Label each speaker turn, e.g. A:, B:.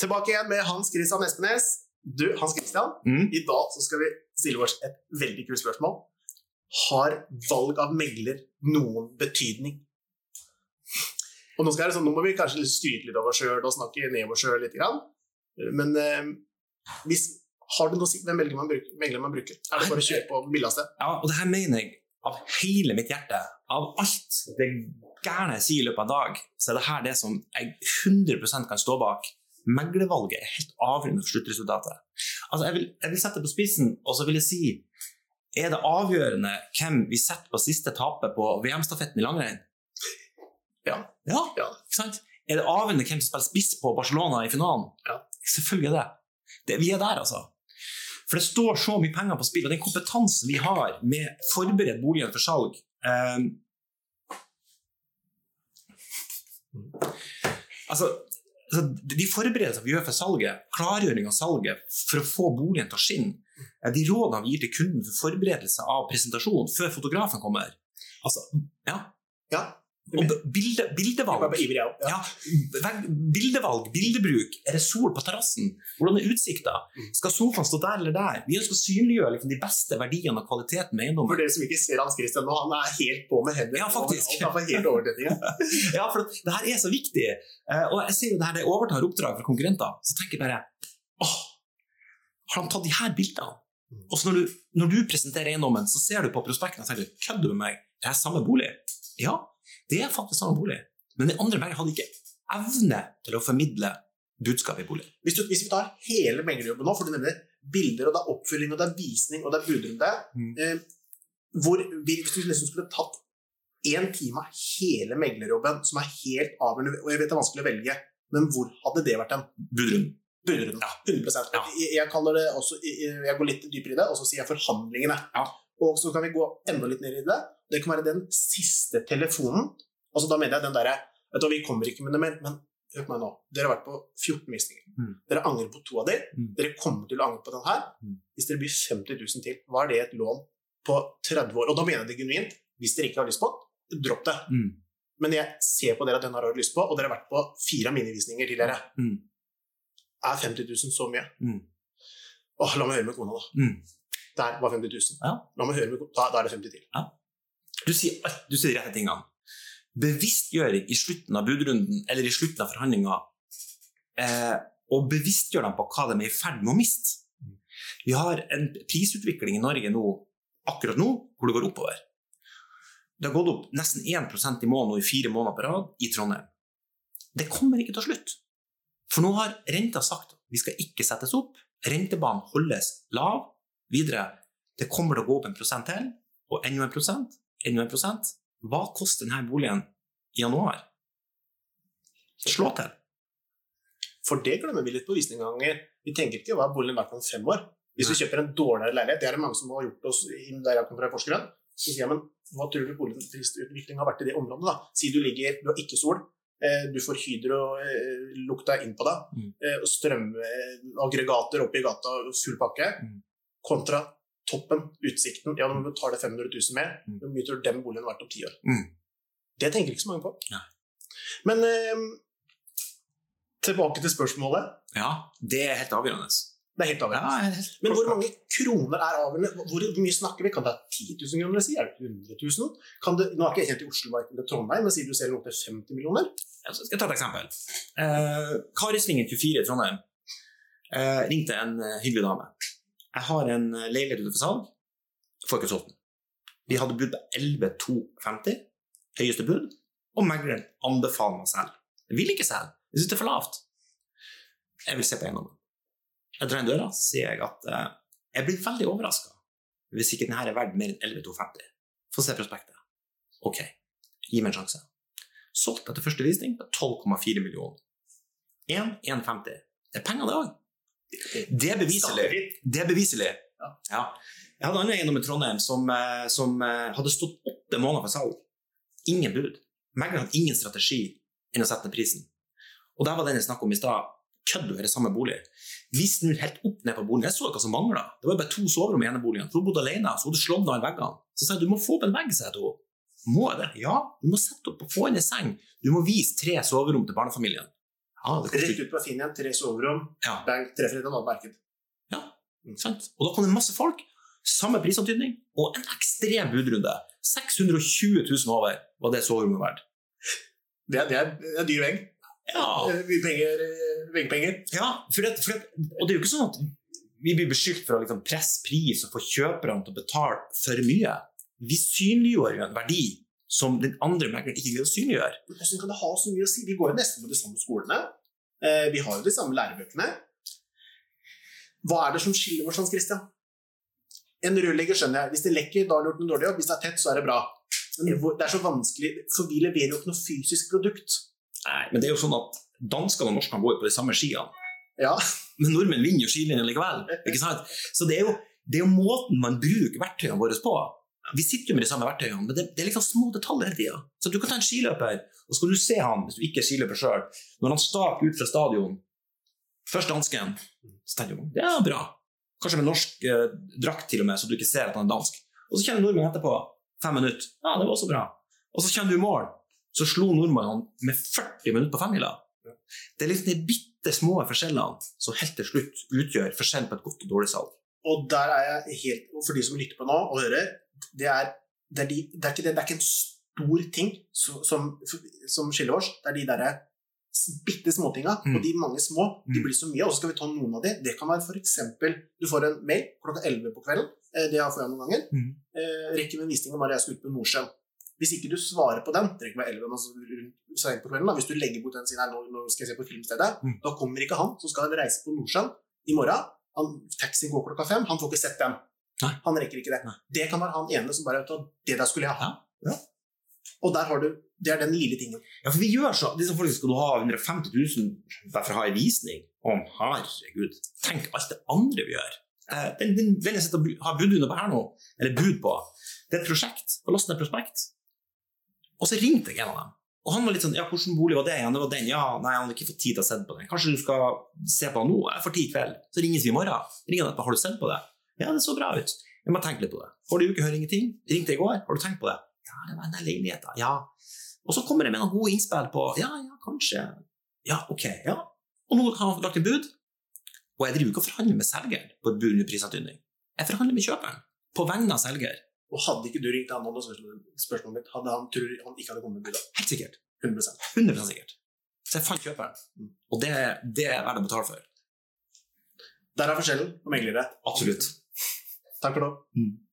A: Tilbake igjen med Hans Christian Espenes. Du, Hans Christian,
B: Mm.
A: i dag så skal vi stille oss et veldig kult spørsmål. Har valg av megler noen betydning? Og nå, skal jeg, liksom- nå må vi kanskje litt skryte litt av oss sjøl og snakke ned oss sjøl litt. Grann. Men eh, hvis, har det noe å si hvem megler man bruker? Megler man bruker? Er det bare å kjøre på billigste?
B: Ja, og det her mener jeg av hele mitt hjerte. Av alt det gærne jeg sier i løpet av en dag, så er det her det som jeg 100 kan stå bak. Meglervalget er helt avgjørende for sluttresultatet. Altså, jeg vil, jeg vil sette det på spissen, og så vil jeg si er det avgjørende hvem vi setter på siste tapet på VM-stafetten i langrenn?
A: Ja.
B: ja.
A: Ja.
B: Ikke sant? Er det avgjørende hvem som spiller spiss på Barcelona i finalen?
A: Ja.
B: Selvfølgelig er det. det. Vi er der, altså. For det står så mye penger på spill, og den kompetansen vi har med forberedt boligen for salg eh, Altså, altså, de forberedelsene vi gjør for salget, klargjøring av salget for å få boligen til å skinne, eh, de rådene vi gir til kunden for forberedelse av presentasjon før fotografen kommer Altså, ja.
A: Ja.
B: Og b- bilde,
A: Jeg
B: bildevalg.
A: ble ivrig, jeg også. Ja.
B: Ja, vegg- bildevalg, bildebruk. Er det sol på terrassen? Hvordan er utsikta? Skal sofaen stå der eller der? Vi ønsker å synliggjøre liksom, de beste verdiene og kvaliteten
A: For
B: med eiendommen.
A: dere som ikke ser Hans Christian nå, han er helt på med hendene.
B: Ja, faktisk.
A: Han er helt overdødning.
B: Ja, for det her er så viktig. Eh, og jeg ser jo det her, det overtar oppdrag fra konkurrenter, så tenker jeg bare åh, har de tatt de her bildene? Og så når du, når du presenterer eiendommen, så ser du på prospekten og tenker kødder du med meg? Det er samme bolig? Ja, det er faktisk samme bolig. Men den andre veien hadde ikke evne til å formidle budskapet i boligen.
A: Hvis, du, hvis vi tar hele meglerjobben nå, for du nevner bilder, og det er oppfølging, og det er visning, og det er budrunde
B: Mm.
A: eh, hvor, Hvis du nesten skulle tatt én time av hele meglerjobben, som er helt avgjørende, og jeg vet det er vanskelig å velge, men hvor hadde det vært en
B: Budrunden.
A: budrunde?
B: Ja.
A: 100
B: Ja.
A: jeg, jeg kaller det også, jeg jeg går litt dypere i det, og så sier jeg forhandlingene.
B: Ja.
A: Og så kan vi gå enda litt ned i det. Det kan være den siste telefonen. Altså Da mener jeg den derre Vet du hva, vi kommer ikke med det mer, men hør på meg nå. Dere har vært på 14 visninger.
B: Mm.
A: Dere angrer på to av de.
B: Mm.
A: Dere kommer til å angre på den her.
B: Mm.
A: Hvis dere byr 50 000 til, hva er det et lån på 30 år? Og da mener jeg det genuint. Hvis dere ikke har lyst på det, dropp det.
B: Mm.
A: Men jeg ser på dere at den har dere lyst på, og dere har vært på fire av mine visninger tidligere.
B: Mm.
A: Er 50 000 så mye?
B: Mm.
A: Åh, la meg høre med kona, da.
B: Mm.
A: Der var 50 000.
B: Ja.
A: La meg høre med kona. Da, da er det 50 til.
B: Du sier, alt, du sier de rette tingene. Bevisstgjøring i slutten av budrunden eller i slutten av forhandlinga, eh, og bevisstgjør dem på hva de er i ferd med å miste. Vi har en prisutvikling i Norge nå, akkurat nå hvor det går oppover. Det har gått opp nesten 1 i måneden og i fire måneder på rad i Trondheim. Det kommer ikke til slutt. For nå har renta sagt at vi skal ikke settes opp, rentebanen holdes lav videre. Det kommer til å gå opp en prosent til, og enda en prosent, enda en prosent. Hva koster denne boligen i januar? Slå til.
A: For det glemmer vi litt på visning noen ganger. Vi tenker ikke hva er boligen verdt om fem år. Hvis vi kjøper en dårligere leilighet, det er det mange som har gjort oss i- der jeg kommer fra i Porsgrunn, så sier jeg men hva tror du boligprisutviklingen har vært i det området? da? Si du ligger, du har ikke sol, eh, du får eh, hydrolukta inn på deg,
B: Mm.
A: eh, og strømaggregater oppe i gata, og full pakke,
B: Mm.
A: kontra toppen, utsikten. Ja, du må betale 500 000 mer.
B: Mm.
A: Hvor mye tror du den boligen er verdt om ti år?
B: Mm.
A: Det tenker ikke så mange på.
B: Nei.
A: Men eh, tilbake til spørsmålet.
B: Ja, det er helt avgjørende.
A: Det er helt
B: Ja,
A: avgjørende.
B: helt
A: Men hvor mange kroner er avgjørende? Hvor mye snakker vi? Kan det være 10 000 kroner? Si? Er det 100 000? Kan det, nå er ikke jeg kjent i Oslo-markedet eller Trondheim, men sier du selger opp til 50 millioner?
B: Jeg skal ta et eksempel. Eh, Karisvingen 24 i Trondheim eh, ringte en eh, hyggelig dame. Jeg har en eh, leilighet ute for salg. Får ikke solgt den. Vi hadde bud på 11,250, høyeste bud, og megleren anbefaler meg å selge. Jeg vil ikke selge, jeg syns det er for lavt. Jeg vil se på eiendommen. Jeg drar inn døra, så sier jeg at eh, jeg blir veldig overraska hvis ikke denne er verdt mer enn 11,250. Få se prospektet. Ok, gi meg en sjanse solgt etter første visning på 12,4 millioner. 1, 1,50. Det er penger, det òg. Det er beviselig. Det er beviselig.
A: Ja.
B: Ja. Jeg hadde en eiendom i Trondheim som, eh, som eh, hadde stått åtte måneder for salg. Ingen bud. Megleren hadde ingen strategi enn å sette ned prisen. Og der var den jeg snakket om i stad. Kødder du, er det samme bolig? Vi snur helt opp ned på boligen. Jeg så ikke hva som mangla. Det var bare to soverom i ene boligen. For hun bodde alene, så hun hadde slått ned alle veggene. Så sa jeg du må få opp en vegg, sa jeg til henne. Må jeg det? Ja, du må sette opp og få inn ei seng. Du må vise tre soverom til barnefamilien. Ja, det koster
A: Rett
B: ikke.
A: ut på Finn igjen, tre soverom,
B: Ja.
A: bang, treffer et annet marked.
B: Sant? Og da kom det masse folk, samme prisantydning, og en ekstrem budrunde. 620 000 over var det soverommet verdt.
A: Det er, det er, det er dyr vegg.
B: Ja,
A: Eh, Mye penger, eh, veggpenger.
B: ja for at, for at, og det er jo ikke sånn at vi blir beskyldt for å liksom presse pris og få kjøperne til å betale for mye. Vi synliggjør jo en verdi som den andre megleren ikke vil synliggjøre.
A: Men hvordan kan det ha så mye å si? Vi går jo nesten på de samme skolene. Eh, Vi har jo de samme lærebøkene. Hva er det som skiller oss, Hans Christian? En rørlegger skjønner jeg. Hvis det lekker, da har han gjort en dårlig jobb. Hvis det er tett, så er det bra. Men hvor- det er så vanskelig, for vi leverer jo ikke noe fysisk produkt.
B: Nei, men det er jo sånn at danskene og norskene går jo på de samme skiene.
A: Ja.
B: Men nordmenn vinner jo skilinjen likevel. Ikke sant? Så det er, jo, det er jo måten man bruker verktøyene våre på. Vi sitter jo med de samme verktøyene, men det, det er liksom små detaljer hele tida. Så du kan ta en skiløper, og så kan du se han, hvis du ikke er skiløper sjøl, når han staker ut fra stadion Først dansken, så tenker du ja, bra. Kanskje med norsk eh, drakt til og med, så du ikke ser at han er dansk. Og så kjenner nordmannen etterpå, fem minutter, ja, det var også bra. Og så kjenner du i mål, så slo nordmannen han med 40 minutter på femmila. Det er liksom de bitte små forskjellene som helt til slutt utgjør forskjell på et godt og dårlig salg.
A: Og der er jeg helt Og for de som lytter på nå og hører, det er, det er, de, det er, ikke, det, det er ikke en stor ting som, som, som skiller oss. Det er de derre bitte småtinga,
B: Mm.
A: og de mange små, de
B: Mm.
A: blir så mye. Og så skal vi ta noen av de. Det kan være f.eks. du får en mail klokka 11 på kvelden. eh, Det har jeg fått noen ganger.
B: Mm.
A: Eh, rekker med en visning om at jeg skal ut på Nordsjøen. Hvis ikke du svarer på den, det trenger ikke være 11, men altså rundt seint på kvelden, da. hvis du legger bort den siden her, nå, nå skal jeg se på filmstedet,
B: Mm.
A: da kommer ikke han som skal reise på Nordsjøen i morgen. Han, taxien går klokka fem, han får ikke sett den.
B: Nei.
A: Han rekker ikke det.
B: Nei.
A: Det kan være han ene som bare vet du hva, det der skulle jeg ha.
B: Ja, ja.
A: Og der har du, det er den lille tingen.
B: Ja, for vi gjør så, disse folk skal du ha 150 000 bare for å ha en visning. Å, herregud. Tenk alt det andre vi gjør. Eh, Den, den, den jeg sitter og bu- har bud under på her nå, eller bud på, det er et prosjekt. Og last ned prospekt. Og så ringte jeg en av dem. Og han var litt sånn Ja, hvilken bolig var det igjen? Det var den. Ja, nei, han har ikke fått tid til å se på den. Kanskje du skal se på den nå? Jeg får tid i kveld. Så ringes vi i morgen. Ringer han etterpå. Har du sett på det? Ja, det så bra ut. Jeg må tenke litt på det. Forrige uke hører jeg ingenting. Ringte jeg i går. Har du tenkt på det? Ja, det var den der leiligheten. Ja. Og så kommer det med noen gode innspill på Ja, ja, kanskje. Ja, ok, ja. Og nå har han lagt inn bud. Og jeg driver ikke og forhandler med selger på et bud under prisantydning. Jeg forhandler med kjøperen på vegne av selger.
A: Og hadde ikke du ringt han og spørsmålet spørsmålet mitt, hadde han tror han ikke hadde kommet med budet.
B: Helt sikkert.
A: 100
B: 100 sikkert. Så jeg fant kjøperen. Mm. Og det, det er verdt å betale for.
A: Der er forskjellen på meglere. Takk for nå.
B: Mm.